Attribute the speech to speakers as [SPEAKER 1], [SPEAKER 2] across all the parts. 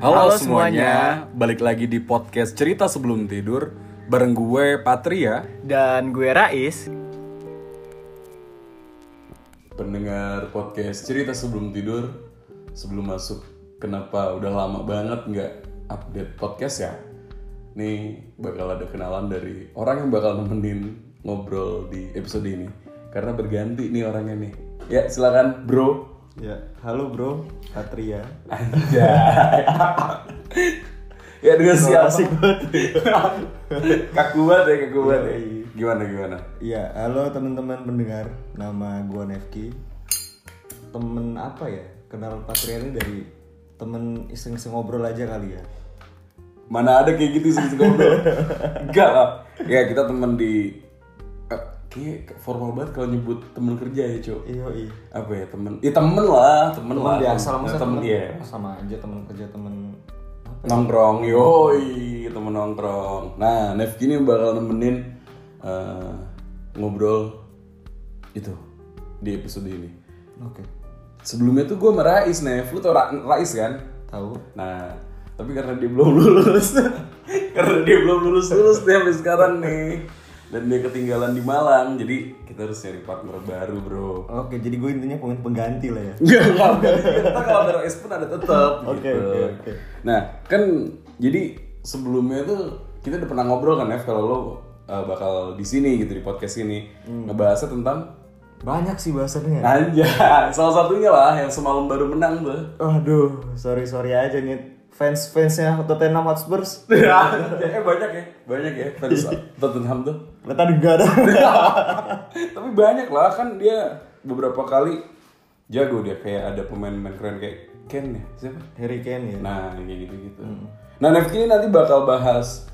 [SPEAKER 1] Halo, semuanya. balik lagi di podcast Cerita Sebelum Tidur bareng gue ya. Patria.
[SPEAKER 2] Dan gue Rais.
[SPEAKER 1] Pendengar podcast Cerita Sebelum Tidur, sebelum masuk kenapa udah lama banget nggak update podcast ya? Nih bakal ada kenalan dari orang yang bakal nemenin ngobrol di episode ini karena berganti nih orangnya nih. Ya silakan bro.
[SPEAKER 3] Ya, halo bro, Patria.
[SPEAKER 1] Anjay. Iya. ya dengan si asik banget. kaku banget ya, kaku banget ya.
[SPEAKER 3] Iya.
[SPEAKER 1] Gimana gimana?
[SPEAKER 3] Ya, halo teman-teman pendengar. Nama gua Nefki. Temen apa ya? Kenal Patria ini dari temen iseng-iseng ngobrol aja kali ya.
[SPEAKER 1] Mana ada kayak gitu sih ngobrol. Enggak lah. Ya kita temen di eh, kayak formal banget kalau nyebut temen kerja ya, Cok.
[SPEAKER 3] Iya, iya.
[SPEAKER 1] Apa ya, temen? Ya temen lah, temen, lah.
[SPEAKER 3] Temen biasa lah,
[SPEAKER 1] temen,
[SPEAKER 3] maksudnya
[SPEAKER 1] temen, iya.
[SPEAKER 3] Sama aja temen kerja temen
[SPEAKER 1] nongkrong yoi temen nongkrong nah Nefki ini bakal nemenin eh, ngobrol itu di episode ini
[SPEAKER 3] Oke,
[SPEAKER 1] sebelumnya tuh gue sama Rais Nef lu tau Ra- Rais kan
[SPEAKER 3] tahu.
[SPEAKER 1] nah tapi karena dia belum lulus karena dia belum lulus lulus dia sampai sekarang nih dan dia ketinggalan di Malang jadi kita harus cari partner baru bro
[SPEAKER 3] Oke, jadi gue intinya pengen pengganti lah ya.
[SPEAKER 1] Enggak, enggak, enggak. Kita kalau ada OS pun ada tetap
[SPEAKER 3] Oke,
[SPEAKER 1] gitu.
[SPEAKER 3] oke, oke.
[SPEAKER 1] Nah, kan jadi sebelumnya tuh kita udah pernah ngobrol kan, F, kalau lo uh, bakal di sini gitu di podcast ini
[SPEAKER 3] Hmm.
[SPEAKER 1] ngebahasnya tentang
[SPEAKER 3] Banyak sih bahasannya.
[SPEAKER 1] Anjay, salah satunya lah yang semalam baru menang tuh.
[SPEAKER 3] Aduh, sorry sorry aja nih fans-fansnya Tottenham Hotspurs.
[SPEAKER 1] eh banyak ya, banyak ya fans
[SPEAKER 3] Iya.
[SPEAKER 1] Tottenham tuh.
[SPEAKER 3] Kelihatan enggak ada.
[SPEAKER 1] Tapi banyak lah kan dia beberapa kali jago dia kayak ada pemain-pemain keren kayak Ken ya siapa?
[SPEAKER 3] Harry Kane ya.
[SPEAKER 1] Nah, kayak gitu-gitu.
[SPEAKER 3] Hmm.
[SPEAKER 1] Nah, Nefki ini nanti bakal bahas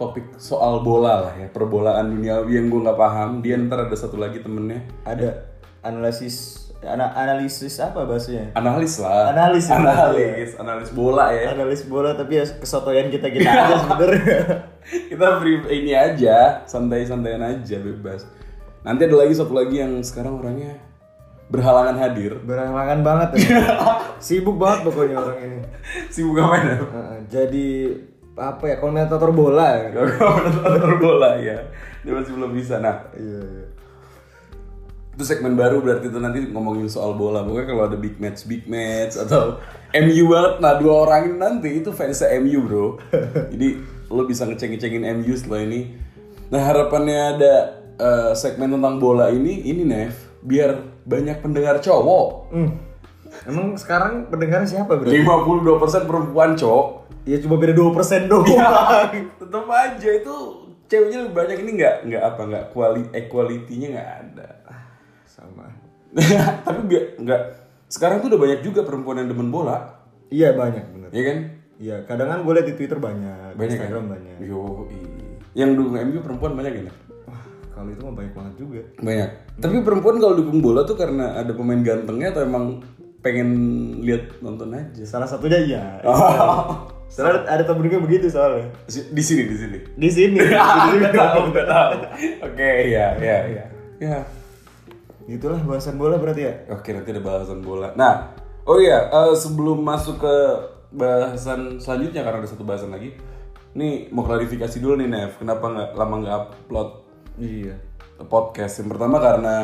[SPEAKER 1] topik soal bola lah ya, perbolaan dunia yang gue nggak paham. Dia ntar ada satu lagi temennya,
[SPEAKER 3] ada analisis ana- analisis apa bahasanya
[SPEAKER 1] analis lah.
[SPEAKER 3] Analis ya.
[SPEAKER 1] analis, analis bola ya.
[SPEAKER 3] analis bola tapi ya kesotoyan kita kita aja sebenernya
[SPEAKER 1] Kita free ini aja, santai-santaian aja, bebas. Nanti ada lagi satu lagi yang sekarang orangnya berhalangan hadir.
[SPEAKER 3] berhalangan banget ya sibuk banget pokoknya orang ini
[SPEAKER 1] Sibuk apa ya?
[SPEAKER 3] Heeh, jadi apa ya komentator bola ya?
[SPEAKER 1] Gak bola ya. Dia masih belum bisa. Nah,
[SPEAKER 3] iya iya
[SPEAKER 1] itu segmen baru berarti itu nanti ngomongin soal bola pokoknya kalau ada big match big match atau MU banget nah dua orang ini nanti itu fansnya MU bro jadi lo bisa ngeceng ngecengin MU setelah ini nah harapannya ada eh, segmen tentang bola ini ini Nev biar banyak pendengar cowok
[SPEAKER 3] Hmm. emang sekarang pendengar siapa bro
[SPEAKER 1] 52% perempuan cowok
[SPEAKER 3] ya cuma beda 2% doang
[SPEAKER 1] tetep aja itu ceweknya lebih banyak ini nggak nggak apa nggak kuali equality-nya nggak ada
[SPEAKER 3] sama
[SPEAKER 1] tapi biar nggak sekarang tuh udah banyak juga perempuan yang demen bola
[SPEAKER 3] iya banyak bener
[SPEAKER 1] Iya kan?
[SPEAKER 3] iya kadang kan gue liat di twitter banyak, ya?
[SPEAKER 1] Banyak
[SPEAKER 3] instagram
[SPEAKER 1] kan?
[SPEAKER 3] banyak
[SPEAKER 1] Yo, yang dukung MU perempuan banyak ya? Nak?
[SPEAKER 3] wah kalau itu mah banyak banget juga
[SPEAKER 1] Banyak. Tapi perempuan kalau dukung bola tuh karena ada pemain gantengnya atau emang pengen lihat nonton aja.
[SPEAKER 3] salah satunya iya Oh. Soalnya ada temen gue begitu soalnya.
[SPEAKER 1] Si- Di sini, di sini.
[SPEAKER 3] Di sini. Di sini.
[SPEAKER 1] Ah, Nggak tahu. Oke, ya, ya, ya. Ya.
[SPEAKER 3] Itulah bahasan bola berarti ya.
[SPEAKER 1] Oke, nanti ada bahasan bola. Nah, oh iya, eh, sebelum masuk ke bahasan selanjutnya karena ada satu bahasan lagi. Nih mau klarifikasi dulu nih Nev, kenapa nggak lama nggak upload
[SPEAKER 3] Iya.
[SPEAKER 1] podcast yang pertama karena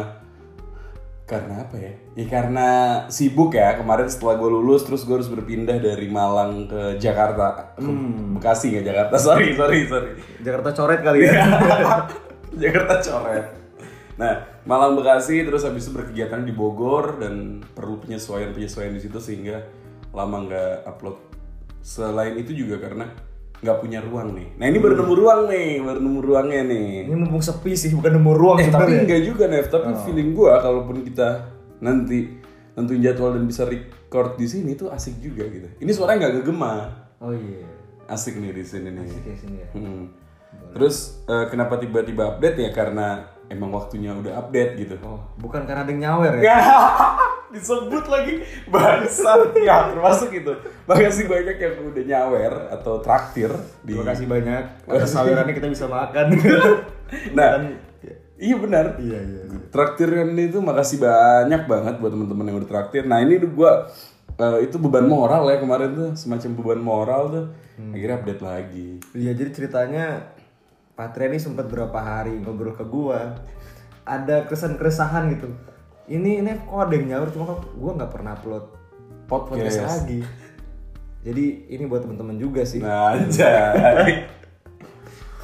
[SPEAKER 1] karena apa ya? Ya karena sibuk ya kemarin setelah gue lulus terus gue harus berpindah dari Malang ke Jakarta, Ke Bekasi nggak Jakarta sorry sorry sorry
[SPEAKER 3] Jakarta coret kali
[SPEAKER 1] Iya.
[SPEAKER 3] ya.
[SPEAKER 1] Jakarta coret. Nah Malang Bekasi terus habis itu berkegiatan di Bogor dan perlu penyesuaian penyesuaian di situ sehingga lama nggak upload. Selain itu juga karena nggak punya ruang nih. Nah ini baru nemu ruang nih, baru nemu ruangnya nih.
[SPEAKER 3] Ini mumpung sepi sih, bukan nemu ruang
[SPEAKER 1] Eh tapi
[SPEAKER 3] Oh, sebenarnya.
[SPEAKER 1] enggak juga Nev, tapi feeling gua kalaupun kita nanti nentuin jadwal dan bisa record di sini tuh asik juga gitu. Ini suaranya nggak gegema.
[SPEAKER 3] Oh iya.
[SPEAKER 1] Asik nih di sini nih.
[SPEAKER 3] Kayak sini ya.
[SPEAKER 1] Hmm. Terus eh, kenapa tiba-tiba update ya karena emang waktunya udah update gitu.
[SPEAKER 3] Oh, bukan karena ada yang nyawer
[SPEAKER 1] Iya.
[SPEAKER 3] ya.
[SPEAKER 1] disebut lagi bangsat ya termasuk itu makasih banyak yang udah nyawer atau traktir di
[SPEAKER 3] Terima kasih banyak. Atas sawerannya kita bisa makan.
[SPEAKER 1] nah iya benar
[SPEAKER 3] iya, iya.
[SPEAKER 1] Traktiran itu makasih banyak banget buat teman-teman yang udah traktir. Nah ini gue eh, itu beban moral ya kemarin tuh semacam beban moral tuh
[SPEAKER 3] Hmm.
[SPEAKER 1] akhirnya update lagi
[SPEAKER 3] Iya jadi ceritanya Patria ini sempat berapa hari ngobrol ke gua ada keresahan keresahan gitu ini ini kok ada yang nyaur cuma kok gua nggak pernah upload podcast
[SPEAKER 1] podcast
[SPEAKER 3] lagi jadi ini buat temen-temen juga sih
[SPEAKER 1] nah anjay.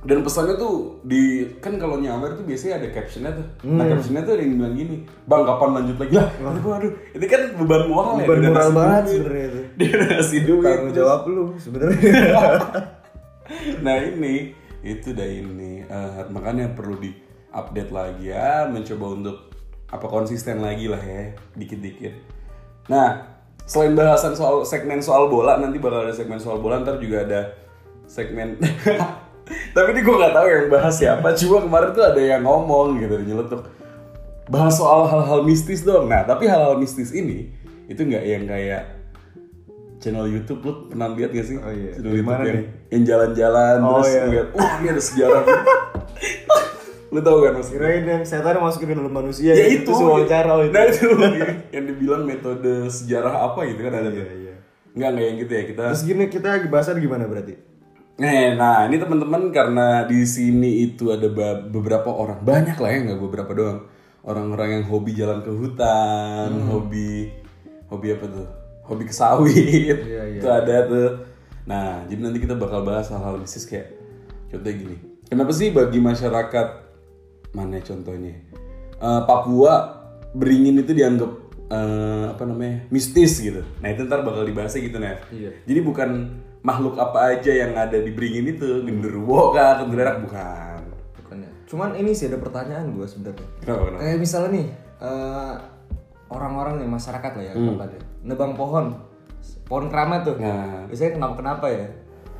[SPEAKER 1] dan pesannya tuh di kan kalau nyawer tuh biasanya ada captionnya tuh nah
[SPEAKER 3] Hmm.
[SPEAKER 1] captionnya tuh ada yang bilang gini bang kapan lanjut lagi lah aduh aduh itu kan beban moral ya
[SPEAKER 3] Beban
[SPEAKER 1] dia udah
[SPEAKER 3] moral
[SPEAKER 1] ngasih
[SPEAKER 3] banget
[SPEAKER 1] duit.
[SPEAKER 3] sebenarnya itu.
[SPEAKER 1] dia udah ngasih duit
[SPEAKER 3] tanggung jawab lu sebenarnya
[SPEAKER 1] nah ini itu dah ini Eh, makanya perlu di update lagi ya mencoba untuk apa konsisten lagi lah ya dikit-dikit nah selain bahasan soal segmen soal bola nanti bakal ada segmen soal bola ntar juga ada segmen tapi ini gue nggak tahu yang bahas siapa cuma kemarin tuh ada yang ngomong gitu nyeletuk bahas soal hal-hal mistis dong nah tapi hal-hal mistis ini itu nggak yang kayak channel YouTube lu pernah lihat gak sih
[SPEAKER 3] Oh iya.
[SPEAKER 1] channel
[SPEAKER 3] Dari
[SPEAKER 1] YouTube
[SPEAKER 3] mana
[SPEAKER 1] yang
[SPEAKER 3] nih?
[SPEAKER 1] yang jalan-jalan
[SPEAKER 3] Oh,
[SPEAKER 1] terus
[SPEAKER 3] iya.
[SPEAKER 1] ngeliat wah ini ada sejarah nih." lu tau kan mas
[SPEAKER 3] kirain yang setan masukin ke dalam manusia
[SPEAKER 1] ya itu
[SPEAKER 3] gitu, terus wawancara oh, itu
[SPEAKER 1] nah itu yang dibilang metode sejarah apa gitu kan ada tuh
[SPEAKER 3] Iya, iya.
[SPEAKER 1] nggak nggak yang gitu ya kita
[SPEAKER 3] terus gini kita bahasan gimana berarti
[SPEAKER 1] Eh, nah ini teman-teman karena di sini itu ada ba- beberapa orang banyak lah ya nggak beberapa doang orang-orang yang hobi jalan ke hutan,
[SPEAKER 3] Hmm.
[SPEAKER 1] hobi hobi apa tuh? Hobi ke sawit.
[SPEAKER 3] Iya, iya.
[SPEAKER 1] Itu ada tuh. Nah jadi nanti kita bakal bahas hal-hal mistis kayak contohnya gini. Kenapa sih bagi masyarakat mana contohnya Eh, Papua beringin itu dianggap eh, apa namanya mistis gitu. Nah itu ntar bakal dibahasnya gitu Nev.
[SPEAKER 3] Iya.
[SPEAKER 1] Jadi bukan makhluk apa aja yang ada di beringin itu, genderuwo kah, kuntilanak bukan.
[SPEAKER 3] Bukannya. cuman ini sih ada pertanyaan gua sebenarnya
[SPEAKER 1] Kenapa kenapa?
[SPEAKER 3] Kayak misalnya nih eh, orang-orang nih masyarakat lah ya tempatnya. Nebang pohon. Pohon keramat tuh.
[SPEAKER 1] Nah.
[SPEAKER 3] Biasanya kenapa-kenapa ya.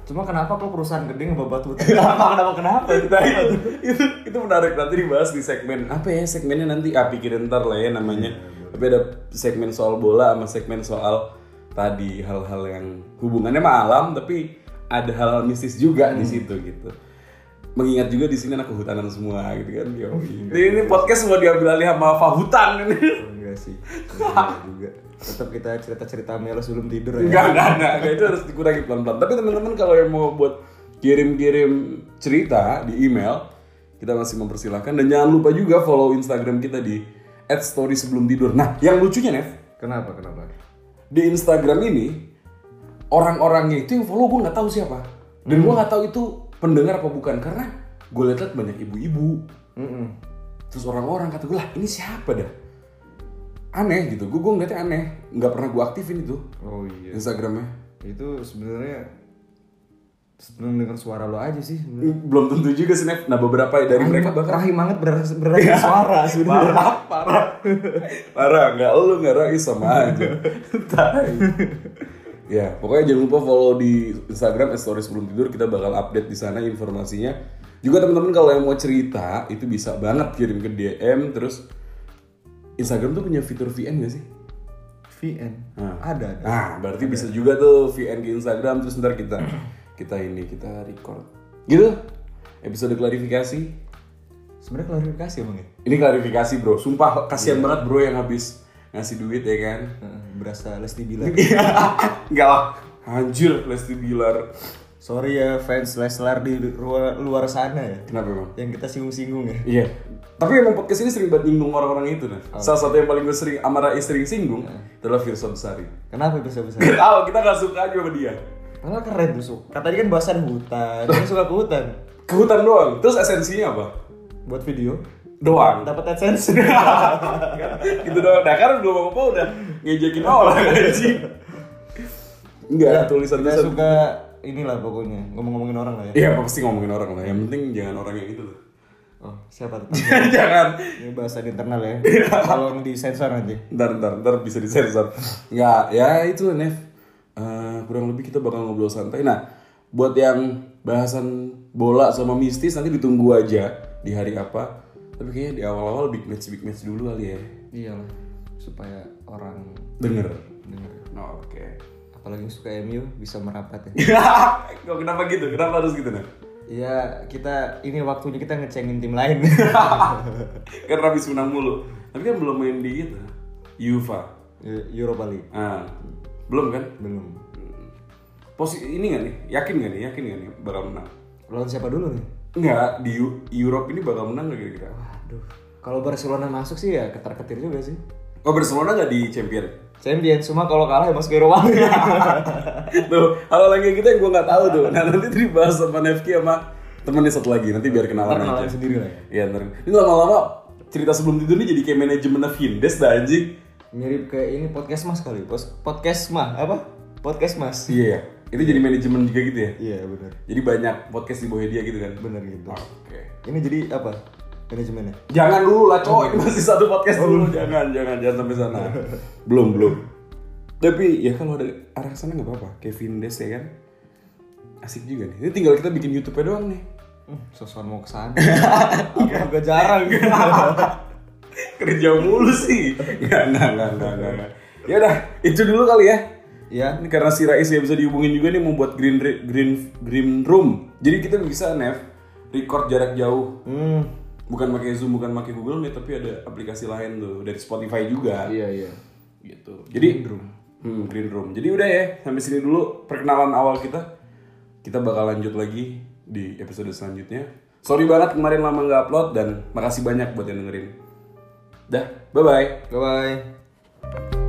[SPEAKER 3] Cuma kenapa kok perusahaan gede ngebabat hutan? kenapa kenapa kenapa?
[SPEAKER 1] Nah, itu, itu, itu menarik nanti dibahas di segmen apa ya segmennya nanti ah pikirin ntar lah ya namanya tapi ada segmen soal bola sama segmen soal tadi hal-hal yang hubungannya sama alam tapi ada hal-hal mistis juga di situ gitu mengingat juga di sini anak kehutanan semua gitu kan yo ini, ini podcast mau diambil alih sama Fahutan ini
[SPEAKER 3] Enggak sih. Enggak juga. Tetap kita cerita-cerita melo sebelum tidur ya.
[SPEAKER 1] Enggak, enggak, enggak, enggak. Itu harus dikurangi pelan-pelan. Tapi teman-teman kalau yang mau buat kirim-kirim cerita di email, kita masih mempersilahkan. Dan jangan lupa juga follow Instagram kita di @story sebelum tidur. Nah, yang lucunya Nev,
[SPEAKER 3] Kenapa kenapa?
[SPEAKER 1] di Instagram ini orang-orangnya itu yang follow gue nggak tahu siapa. Dan gue nggak tahu itu pendengar apa bukan karena gue lihat banyak ibu-ibu.
[SPEAKER 3] Mm-mm.
[SPEAKER 1] Terus orang-orang kata gue lah ini siapa dah? Aneh gitu, gue gue ngeliatnya aneh, nggak pernah gue aktifin itu
[SPEAKER 3] Oh iya.
[SPEAKER 1] Instagramnya.
[SPEAKER 3] Itu sebenarnya seneng dengar suara lo aja sih. sebenarnya.
[SPEAKER 1] belum tentu juga sih Nef. Nah beberapa dari mereka bahkan
[SPEAKER 3] rahim banget berasa berasa suara sebenarnya.
[SPEAKER 1] parah parah parah nggak lu nggak Rai sama aja Tai. ya pokoknya jangan lupa follow di Instagram @story sebelum tidur kita bakal update di sana informasinya juga teman-teman kalau yang mau cerita itu bisa banget kirim ke DM terus Instagram tuh punya fitur VN gak sih?
[SPEAKER 3] VN.
[SPEAKER 1] Nah.
[SPEAKER 3] Ada ada.
[SPEAKER 1] Nah, berarti bisa juga tuh VN di Instagram terus ntar kita kita ini kita record. Gitu. Episode klarifikasi.
[SPEAKER 3] Sebenarnya klarifikasi emang ya.
[SPEAKER 1] Ini klarifikasi bro, sumpah kasihan
[SPEAKER 3] Iya.
[SPEAKER 1] banget bro yang habis ngasih duit ya kan
[SPEAKER 3] Heeh, berasa Lesti Bilar.
[SPEAKER 1] Enggak lah, anjir Lesti Bilar
[SPEAKER 3] Sorry ya fans Leslar di luar, luar sana ya.
[SPEAKER 1] Kenapa emang?
[SPEAKER 3] Yang kita singgung-singgung ya.
[SPEAKER 1] Iya Tapi emang podcast ini sering banget nyinggung orang-orang itu nah
[SPEAKER 3] Oh.
[SPEAKER 1] Salah satu yang paling gue sering, Amara sering singgung
[SPEAKER 3] Iya.
[SPEAKER 1] itu adalah Firsa Besari
[SPEAKER 3] Kenapa bisa bisa?
[SPEAKER 1] Gak tau, kita gak suka aja sama dia
[SPEAKER 3] Padahal keren tuh Su. Katanya kan bahasan hutan. Dia suka ke hutan.
[SPEAKER 1] Ke hutan doang, terus esensinya apa?
[SPEAKER 3] Buat video
[SPEAKER 1] Doang
[SPEAKER 3] dapat adsense.
[SPEAKER 1] Gitu doang, nah karena belum apa-apa udah ngejekin orang anjing Enggak,
[SPEAKER 3] Iya, Kita
[SPEAKER 1] Iya, tulisan-tulisan
[SPEAKER 3] suka inilah pokoknya ngomong-ngomongin orang lah ya.
[SPEAKER 1] Iya pasti ngomongin orang lah, yang penting jangan orang yang itu loh
[SPEAKER 3] Oh siapa tuh?
[SPEAKER 1] Jangan
[SPEAKER 3] Ini bahasan internal ya. Tolong disensor nanti.
[SPEAKER 1] ntar ntar ntar bisa disensor nggak ya itu Nev Eh, kurang lebih kita bakal ngobrol santai nah buat yang bahasan bola sama mistis nanti ditunggu aja di hari apa tapi kayaknya di awal-awal big match big match dulu kali ya
[SPEAKER 3] Iyalah Iya supaya orang
[SPEAKER 1] denger
[SPEAKER 3] dengar.
[SPEAKER 1] Oh, oke
[SPEAKER 3] Apalagi yang suka MU bisa merapat ya.
[SPEAKER 1] kok kenapa gitu kenapa harus gitu Nev
[SPEAKER 3] Iya, kita ini waktunya kita ngecengin tim lain.
[SPEAKER 1] kan habis menang mulu tapi kan belum main di itu Yuva
[SPEAKER 3] Iya, Europa League
[SPEAKER 1] Ah, belum kan?
[SPEAKER 3] belum.
[SPEAKER 1] Posisi ini nggak nih? Yakin nggak nih? Yakin nggak nih bakal menang?
[SPEAKER 3] Lawan siapa dulu nih?
[SPEAKER 1] Enggak, di Eu- Europe ini bakal menang nggak kira-kira?
[SPEAKER 3] Aduh. Kalau Barcelona masuk sih ya ketar-ketir juga sih.
[SPEAKER 1] Oh Barcelona nggak di champion?
[SPEAKER 3] Champion cuma kalau kalah ya masuk Europa League.
[SPEAKER 1] tuh, hal lagi kita yang gue nggak tahu tuh. Nah nanti dibahas sama Nevki sama temennya satu lagi. Nanti biar kenalan aja.
[SPEAKER 3] Kenalan sendiri lah ya.
[SPEAKER 1] Iya ntar. Ini lama-lama cerita sebelum tidur ini jadi kayak manajemen Vindes dah anjing.
[SPEAKER 3] Mirip kayak ini podcast mas kali. Pos- Podcast mah apa? Podcast mas.
[SPEAKER 1] Iya ya. Itu jadi manajemen juga gitu ya.
[SPEAKER 3] Iya benar.
[SPEAKER 1] Jadi banyak podcast di bawah dia gitu kan.
[SPEAKER 3] Benar gitu.
[SPEAKER 1] Oke.
[SPEAKER 3] Ini jadi apa? Manajemennya?
[SPEAKER 1] Jangan dulu lah coy, masih satu podcast dulu. Jangan, jangan, jangan sampai sana. belum, belum. Tapi ya kalau ada arah sana nggak apa-apa. Kevin Des ya kan. Asik juga nih. Ini tinggal kita bikin YouTube-nya doang nih.
[SPEAKER 3] Hmm, sosokan mau kesana. Aku juga jarang.
[SPEAKER 1] Kerja mulu sih. Ya, nggak, nggak, nggak, nggak, nggak. Ya udah, itu dulu kali ya.
[SPEAKER 3] ya,
[SPEAKER 1] Ini karena si Rais nggak bisa dihubungin juga nih mau buat green re- green green room. Jadi kita bisa Nev record jarak jauh.
[SPEAKER 3] Hmm,
[SPEAKER 1] Bukan pakai Zoom, bukan pakai Google Meet, tapi ada aplikasi lain tuh dari Spotify juga.
[SPEAKER 3] iya iya.
[SPEAKER 1] gitu. Jadi green room. Hmm, green room. Jadi udah ya, sampai sini dulu perkenalan awal kita. Kita bakal lanjut lagi di episode selanjutnya. Sorry banget kemarin lama nggak upload dan makasih banyak buat yang dengerin. Dah, bye bye.
[SPEAKER 3] Bye bye.